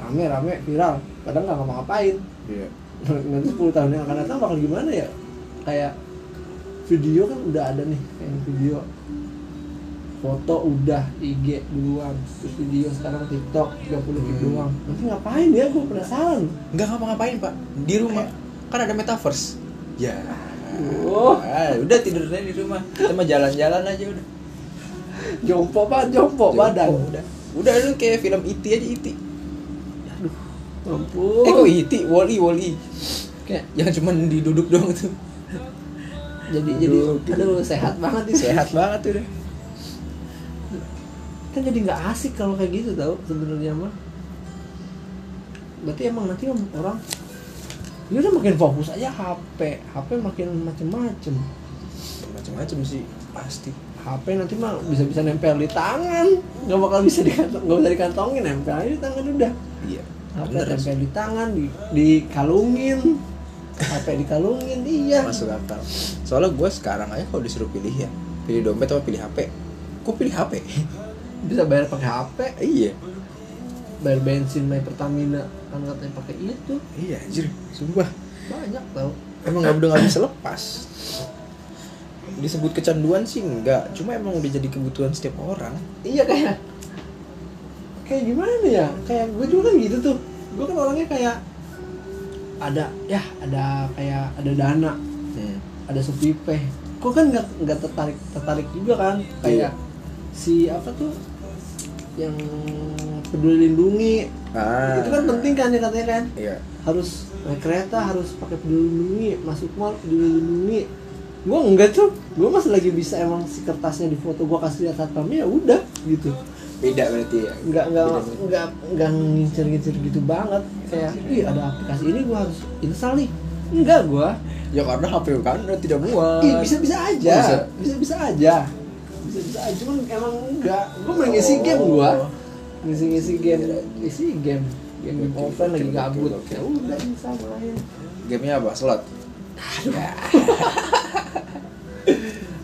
[SPEAKER 2] rame-rame viral kadang nggak ngapa-ngapain
[SPEAKER 1] Iya.
[SPEAKER 2] nanti 10 tahun yang akan datang bakal gimana ya kayak video kan udah ada nih yang video foto udah IG duluan terus video sekarang TikTok 30 detik
[SPEAKER 1] Hmm.
[SPEAKER 2] doang nanti ngapain ya gue penasaran
[SPEAKER 1] nggak ngapa-ngapain pak di rumah kan ada metaverse ya
[SPEAKER 2] Oh.
[SPEAKER 1] Ah, udah tidurnya di rumah kita mah jalan-jalan aja udah
[SPEAKER 2] jompo banget jompo, badan
[SPEAKER 1] Jauh, udah udah lu kayak film IT aja E IT
[SPEAKER 2] ampun
[SPEAKER 1] eh kok IT Wally Wally kayak yang cuman diduduk doang tuh
[SPEAKER 2] jadi
[SPEAKER 1] Duduk,
[SPEAKER 2] jadi aduh sehat banget sih
[SPEAKER 1] sehat banget tuh deh
[SPEAKER 2] kan jadi nggak asik kalau kayak gitu tau sebenarnya mah berarti emang nanti om- orang ya udah makin fokus aja HP HP makin macem-macem
[SPEAKER 1] macam-macam sih pasti
[SPEAKER 2] HP nanti mah bisa-bisa nempel di tangan nggak bakal bisa dikantong nggak bisa dikantongin nempel aja di tangan udah
[SPEAKER 1] iya
[SPEAKER 2] HP
[SPEAKER 1] bener
[SPEAKER 2] nempel di tangan di dikalungin HP dikalungin iya
[SPEAKER 1] masuk akal soalnya gue sekarang aja kalau disuruh pilih ya pilih dompet atau pilih HP kok pilih HP
[SPEAKER 2] bisa bayar pakai HP
[SPEAKER 1] iya
[SPEAKER 2] bayar bensin naik Pertamina kan katanya pakai itu
[SPEAKER 1] iya anjir sumpah
[SPEAKER 2] banyak tau
[SPEAKER 1] emang nggak udah nggak bisa lepas disebut kecanduan sih enggak cuma emang udah jadi kebutuhan setiap orang
[SPEAKER 2] iya kayak kayak gimana ya kayak gue juga kan gitu tuh gue kan orangnya kayak ada ya ada kayak ada dana
[SPEAKER 1] hmm.
[SPEAKER 2] ada sepipeh kok kan nggak nggak tertarik tertarik juga kan
[SPEAKER 1] Iya.
[SPEAKER 2] kayak si apa tuh yang peduli lindungi
[SPEAKER 1] ah
[SPEAKER 2] itu kan penting kan ya katanya kan
[SPEAKER 1] iya
[SPEAKER 2] harus naik kereta harus pakai peduli lindungi masuk mall peduli lindungi gue enggak tuh gue masih lagi bisa emang si kertasnya di foto gue kasih lihat satpamnya ya udah gitu
[SPEAKER 1] beda berarti ya
[SPEAKER 2] nggak nggak
[SPEAKER 1] Beda banget.
[SPEAKER 2] nggak nggak ngincir ngincir gitu banget kayak ih ada aplikasi ini gue harus install nih enggak gue
[SPEAKER 1] ya karena HP kan udah tidak muat
[SPEAKER 2] ih bisa bisa
[SPEAKER 1] Bisa.
[SPEAKER 2] aja eh, bisa bisa aja bisa bisa aja cuman emang enggak gue main ngisi game gue ngisi ngisi game ngisi game game
[SPEAKER 1] Gokil,
[SPEAKER 2] offline lagi
[SPEAKER 1] gokil,
[SPEAKER 2] gabut
[SPEAKER 1] gokil, gokil.
[SPEAKER 2] ya udah install main
[SPEAKER 1] gamenya apa slot Ya.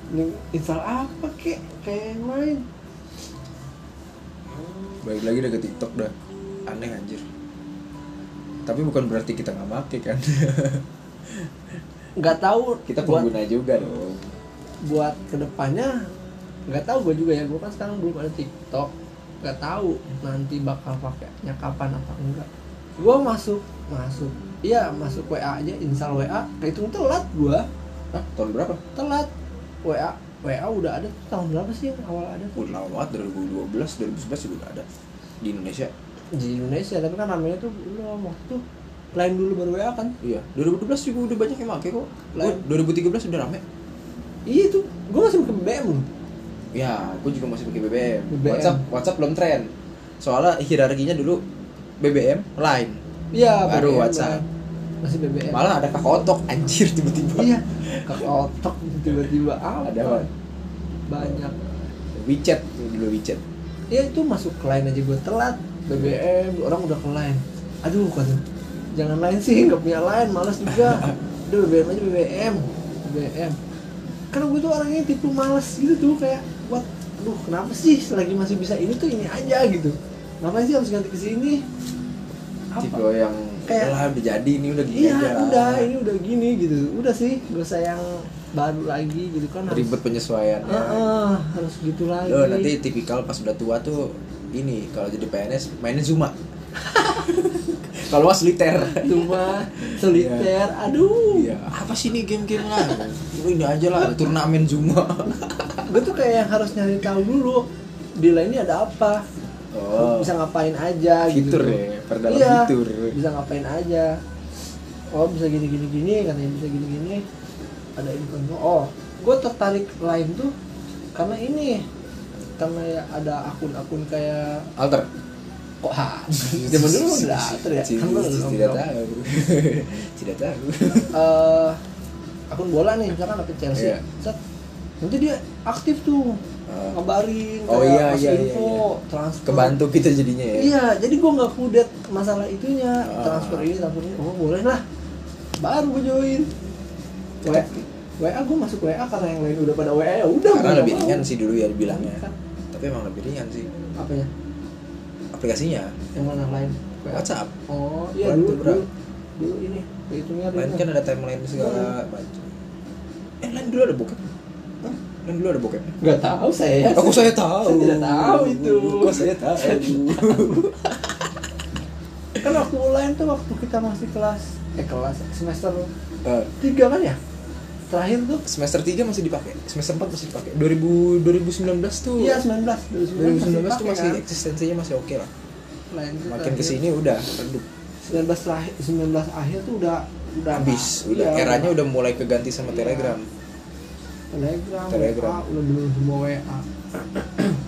[SPEAKER 2] Ini install apa kek kayak main
[SPEAKER 1] baik lagi udah ke TikTok dah aneh anjir tapi bukan berarti kita nggak make kan
[SPEAKER 2] nggak tahu
[SPEAKER 1] kita
[SPEAKER 2] buat
[SPEAKER 1] pengguna juga dong
[SPEAKER 2] buat kedepannya nggak tahu gue juga ya gue kan sekarang belum ada TikTok nggak tahu nanti bakal pakainya kapan apa enggak gue masuk masuk iya masuk WA aja install WA kehitung telat gue
[SPEAKER 1] Hah, tahun berapa
[SPEAKER 2] telat WA WA udah ada tuh tahun berapa sih yang awal ada tuh
[SPEAKER 1] udah lama banget 2012 2011 juga ada di Indonesia
[SPEAKER 2] di Indonesia tapi kan namanya tuh belum waktu tuh lain dulu baru WA kan
[SPEAKER 1] iya 2012 juga udah banyak yang make kok
[SPEAKER 2] Lah.
[SPEAKER 1] Gua 2013 udah rame
[SPEAKER 2] iya tuh gue masih pakai BBM loh
[SPEAKER 1] Ya, aku juga masih pakai BBM.
[SPEAKER 2] BBM.
[SPEAKER 1] WhatsApp, WhatsApp belum tren. Soalnya hierarkinya dulu BBM, Line.
[SPEAKER 2] iya
[SPEAKER 1] Baru
[SPEAKER 2] BBM,
[SPEAKER 1] WhatsApp.
[SPEAKER 2] Bang. masih BBM
[SPEAKER 1] Malah ada kakak otok, anjir tiba-tiba.
[SPEAKER 2] iya kekotok tiba-tiba apa
[SPEAKER 1] Ada apa?
[SPEAKER 2] banyak
[SPEAKER 1] WeChat dulu WeChat.
[SPEAKER 2] ya itu masuk ke lain aja gue telat BBM orang udah ke lain aduh kata jangan lain sih nggak punya lain malas juga udah BBM aja BBM BBM karena gue Kan tuh orangnya tipe malas gitu tuh kayak buat aduh kenapa sih selagi masih bisa ini tuh ini aja gitu ngapain sih harus ganti ke sini
[SPEAKER 1] Tipe
[SPEAKER 2] apa
[SPEAKER 1] yang
[SPEAKER 2] Kayak-
[SPEAKER 1] kayak lah udah jadi ini udah gini
[SPEAKER 2] iya
[SPEAKER 1] aja.
[SPEAKER 2] udah ini udah gini gitu udah sih gue sayang baru lagi gitu kan harus-
[SPEAKER 1] ribet penyesuaiannya.
[SPEAKER 2] Heeh, harus gitu lagi
[SPEAKER 1] Loh, nanti tipikal pas udah tua tuh ini kalau jadi PNS mainin Zuma. kalau nggak soliter.
[SPEAKER 2] cuma soliter aduh
[SPEAKER 1] Iya. Apa sih ini game-game lah? Lu ini aja lah ada turnamen Zuma.
[SPEAKER 2] gue tuh kayak yang harus nyari tahu dulu di lain ini ada apa
[SPEAKER 1] Oh.
[SPEAKER 2] bisa ngapain aja
[SPEAKER 1] Fitur
[SPEAKER 2] gitu
[SPEAKER 1] ya, perdalam
[SPEAKER 2] Iya,
[SPEAKER 1] fitur.
[SPEAKER 2] bisa ngapain aja oh bisa gini gini gini katanya bisa gini gini ada info oh gue tertarik lain tuh karena ini karena ya ada akun-akun kayak
[SPEAKER 1] Alter.
[SPEAKER 2] kok ha zaman dulu
[SPEAKER 1] gitu
[SPEAKER 2] mah udah alter ya kan gua
[SPEAKER 1] Tidak
[SPEAKER 2] udah ngomong.
[SPEAKER 1] tahu. Tidak tahu.
[SPEAKER 2] eh akun bola nih misalkan apa Chelsea
[SPEAKER 1] Iya.
[SPEAKER 2] set nanti dia aktif tuh
[SPEAKER 1] Ah.
[SPEAKER 2] ngabarin
[SPEAKER 1] Oh
[SPEAKER 2] kayak
[SPEAKER 1] iya
[SPEAKER 2] kasih
[SPEAKER 1] iya iya.
[SPEAKER 2] info
[SPEAKER 1] iya.
[SPEAKER 2] transfer
[SPEAKER 1] Kebantu kita jadinya ya.
[SPEAKER 2] iya jadi gua nggak kudet masalah itunya
[SPEAKER 1] Ah.
[SPEAKER 2] transfer ini transfer ini oh boleh lah baru gue join WA
[SPEAKER 1] Tetap.
[SPEAKER 2] WA gue masuk WA karena yang lain udah pada WA ya udah
[SPEAKER 1] Karena
[SPEAKER 2] gua
[SPEAKER 1] lebih
[SPEAKER 2] nggak
[SPEAKER 1] ringan
[SPEAKER 2] mau.
[SPEAKER 1] sih dulu ya dibilangnya.
[SPEAKER 2] Kan.
[SPEAKER 1] Tapi emang lebih ringan sih
[SPEAKER 2] apanya
[SPEAKER 1] aplikasinya.
[SPEAKER 2] yang mana lain WA?
[SPEAKER 1] WhatsApp.
[SPEAKER 2] oh iya
[SPEAKER 1] Waduh,
[SPEAKER 2] dulu
[SPEAKER 1] bro.
[SPEAKER 2] dulu dulu ini hitungnya
[SPEAKER 1] Lain kan ada timeline segala macam. Eh, lain dulu ada bokep. Hah? Lain dulu ada bokep.
[SPEAKER 2] nggak tahu saya
[SPEAKER 1] Aku saya tahu.
[SPEAKER 2] saya tidak tahu itu
[SPEAKER 1] Kok saya tahu.
[SPEAKER 2] kan waktu lain tuh waktu kita masih kelas eh kelas semester
[SPEAKER 1] Eh,
[SPEAKER 2] tiga kan ya terakhir tuh
[SPEAKER 1] semester 3 masih dipakai, semester 4 masih dipakai. 2000 2019 tuh.
[SPEAKER 2] iya
[SPEAKER 1] 2019 tuh
[SPEAKER 2] 19
[SPEAKER 1] masih
[SPEAKER 2] dipakai,
[SPEAKER 1] eksistensinya masih oke lah.
[SPEAKER 2] kan? lain tuh
[SPEAKER 1] Makin
[SPEAKER 2] kan? terakhir.
[SPEAKER 1] kesini udah redup.
[SPEAKER 2] 19 terakhir 19 akhir tuh udah udah
[SPEAKER 1] habis
[SPEAKER 2] nah,
[SPEAKER 1] udah
[SPEAKER 2] iya,
[SPEAKER 1] eranya udah mulai keganti sama
[SPEAKER 2] Iya.
[SPEAKER 1] Telegram
[SPEAKER 2] telegram,
[SPEAKER 1] Telegram.
[SPEAKER 2] WA, udah belum semua WA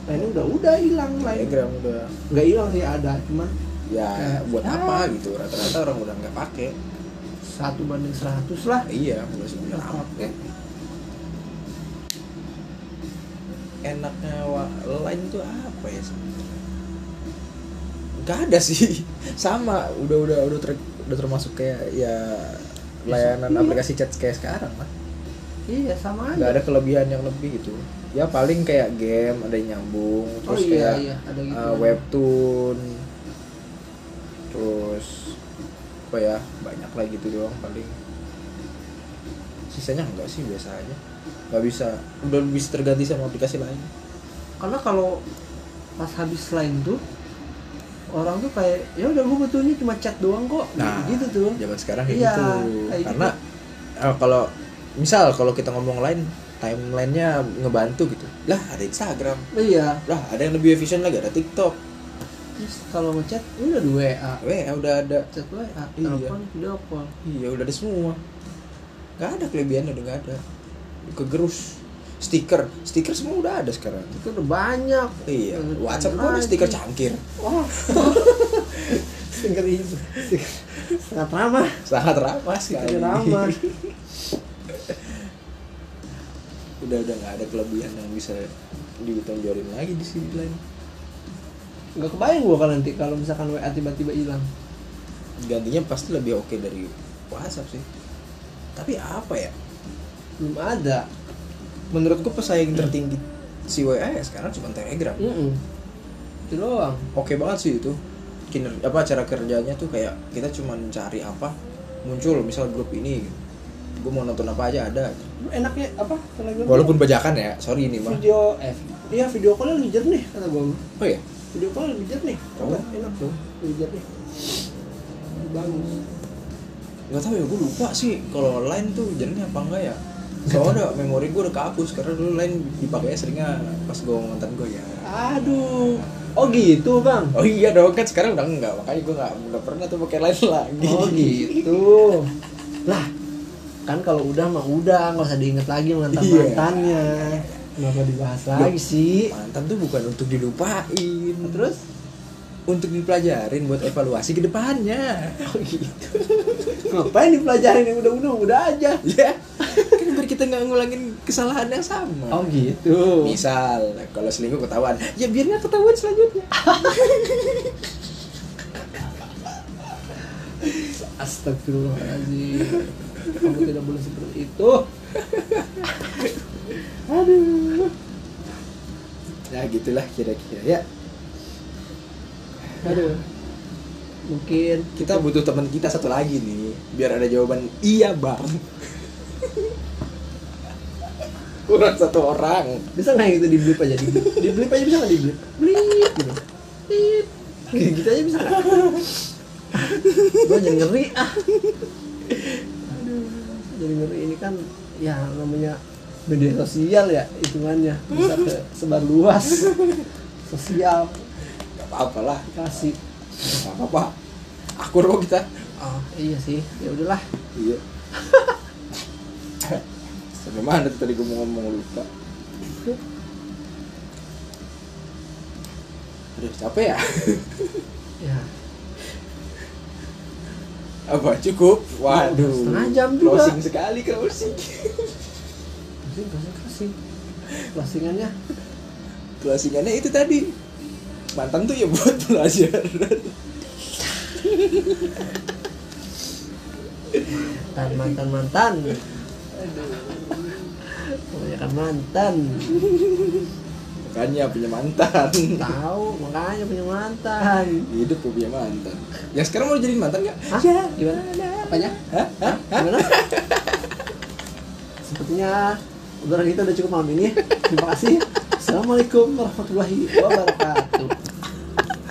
[SPEAKER 2] nah ini udah udah hilang lain
[SPEAKER 1] Telegram udah
[SPEAKER 2] nggak hilang sih ada cuman
[SPEAKER 1] ya
[SPEAKER 2] Kayak,
[SPEAKER 1] buat
[SPEAKER 2] ah.
[SPEAKER 1] apa gitu rata-rata orang udah nggak pakai
[SPEAKER 2] satu banding 100 lah eh,
[SPEAKER 1] iya udah sebenarnya
[SPEAKER 2] nggak pakai
[SPEAKER 1] enaknya wa- lain tuh apa ya sebenarnya? nggak ada sih sama udah udah udah ter- udah termasuk kayak ya layanan
[SPEAKER 2] Iya.
[SPEAKER 1] aplikasi chat kayak sekarang lah
[SPEAKER 2] iya sama
[SPEAKER 1] nggak
[SPEAKER 2] aja
[SPEAKER 1] ada kelebihan yang lebih gitu ya paling kayak game ada yang nyambung
[SPEAKER 2] oh
[SPEAKER 1] terus
[SPEAKER 2] iya
[SPEAKER 1] kayak
[SPEAKER 2] iya ada gitu
[SPEAKER 1] Uh, webtoon terus apa ya banyak lah gitu doang paling sisanya enggak sih biasa aja nggak bisa udah bisa terganti sama aplikasi lain
[SPEAKER 2] karena kalau pas habis lain tuh orang tuh kayak ya udah gue betulnya cuma chat doang kok
[SPEAKER 1] Nah.
[SPEAKER 2] gitu tuh
[SPEAKER 1] zaman sekarang kayak
[SPEAKER 2] Iya,
[SPEAKER 1] gitu
[SPEAKER 2] kayak gitu.
[SPEAKER 1] karena eh, kalau misal kalau kita ngomong lain timelinenya ngebantu gitu lah ada Instagram
[SPEAKER 2] iya
[SPEAKER 1] lah ada yang lebih efisien lagi ada TikTok
[SPEAKER 2] terus kalau ngechat udah di WA
[SPEAKER 1] Weh, ya udah ada
[SPEAKER 2] chat WA
[SPEAKER 1] Iya.
[SPEAKER 2] telepon video call
[SPEAKER 1] Iya udah ada semua Gak ada kelebihannya udah gak ada Kegerus Stiker Stiker semua udah ada sekarang
[SPEAKER 2] itu udah banyak
[SPEAKER 1] Iya
[SPEAKER 2] Udah
[SPEAKER 1] Whatsapp
[SPEAKER 2] banyak
[SPEAKER 1] gua ada
[SPEAKER 2] lagi.
[SPEAKER 1] stiker cangkir
[SPEAKER 2] oh stiker itu stiker sangat ramah
[SPEAKER 1] Sangat ramah sekali
[SPEAKER 2] stiker ramah
[SPEAKER 1] Udah udah gak ada kelebihan yang bisa ditonjolin lagi di sini lain
[SPEAKER 2] nggak kebayang gua kalau nanti kalau misalkan WA tiba-tiba hilang
[SPEAKER 1] Gantinya pasti lebih oke dari Whatsapp sih Tapi apa ya
[SPEAKER 2] belum ada
[SPEAKER 1] Menurut gua pesaing tertinggi si WA ya sekarang cuma Telegram
[SPEAKER 2] Mm-mm. itu doang
[SPEAKER 1] oke banget sih itu kiner apa cara kerjanya tuh kayak kita cuma cari apa muncul misal grup ini gue mau nonton apa aja ada
[SPEAKER 2] Lu enaknya apa telegram
[SPEAKER 1] walaupun bajakan ya sorry ini mah
[SPEAKER 2] video eh iya video call lebih jernih kata gua
[SPEAKER 1] oh ya
[SPEAKER 2] video call lebih jernih
[SPEAKER 1] Oh.
[SPEAKER 2] coba enak tuh lebih jernih Lebih bagus
[SPEAKER 1] nggak tahu ya gue lupa sih kalau lain tuh jalannya apa enggak ya soalnya udah memori gue udah kehapus karena dulu lain dipakai seringnya pas gue mantan gue ya
[SPEAKER 2] aduh oh gitu bang
[SPEAKER 1] oh iya dong kan sekarang udah enggak makanya gue nggak nggak pernah tuh pakai lain lagi
[SPEAKER 2] oh gitu lah kan kalau udah mah udah nggak usah diinget lagi mantan mantannya Iya. kenapa dibahas lagi sih
[SPEAKER 1] mantan tuh bukan untuk dilupain
[SPEAKER 2] Hmm. terus
[SPEAKER 1] untuk dipelajarin buat evaluasi ke depannya
[SPEAKER 2] oh gitu ngapain dipelajarin yang udah udah udah aja
[SPEAKER 1] ya kan biar kita nggak ngulangin kesalahan yang sama
[SPEAKER 2] oh gitu
[SPEAKER 1] misal kalau selingkuh ketahuan ya biar nggak ketahuan selanjutnya
[SPEAKER 2] Astagfirullahaladzim Kamu tidak boleh seperti itu Aduh
[SPEAKER 1] ya gitulah kira-kira ya
[SPEAKER 2] Aduh Mungkin
[SPEAKER 1] kita butuh teman kita satu lagi nih biar ada jawaban iya bang kurang satu orang
[SPEAKER 2] Bisa nggak gitu di blip aja Di blip, di blip aja bisa nggak di blip Blip gitu Blip Gitu, gitu aja bisa nggak? Gue jadi ngeri ah Aduh Jadi ngeri ini kan Ya namanya media sosial ya hitungannya bisa ke sebar luas sosial
[SPEAKER 1] nggak apa-apa lah
[SPEAKER 2] kasih
[SPEAKER 1] nggak apa-apa akur kok kita
[SPEAKER 2] Oh, iya sih. Ya udahlah.
[SPEAKER 1] iya sampai mana tuh tadi gue mau ngomong lupa aduh capek ya
[SPEAKER 2] Ya.
[SPEAKER 1] apa cukup waduh
[SPEAKER 2] Setengah jam juga.
[SPEAKER 1] closing sekali closing
[SPEAKER 2] Closing, closing, closing. Closingannya
[SPEAKER 1] closingannya itu tadi mantan tuh ya buat pelajaran
[SPEAKER 2] mantan, mantan, mantan. Kebanyakan mantan.
[SPEAKER 1] makanya punya mantan
[SPEAKER 2] Tahu, makanya punya mantan.
[SPEAKER 1] hidup tuh punya mantan yang sekarang mau jadi mantan nggak
[SPEAKER 2] Hah? Gimana? Ya. Apanya?
[SPEAKER 1] Hah? Hah?
[SPEAKER 2] Gimana? Sepertinya obrolan kita udah cukup malam ini. Terima kasih. Assalamualaikum warahmatullahi wabarakatuh.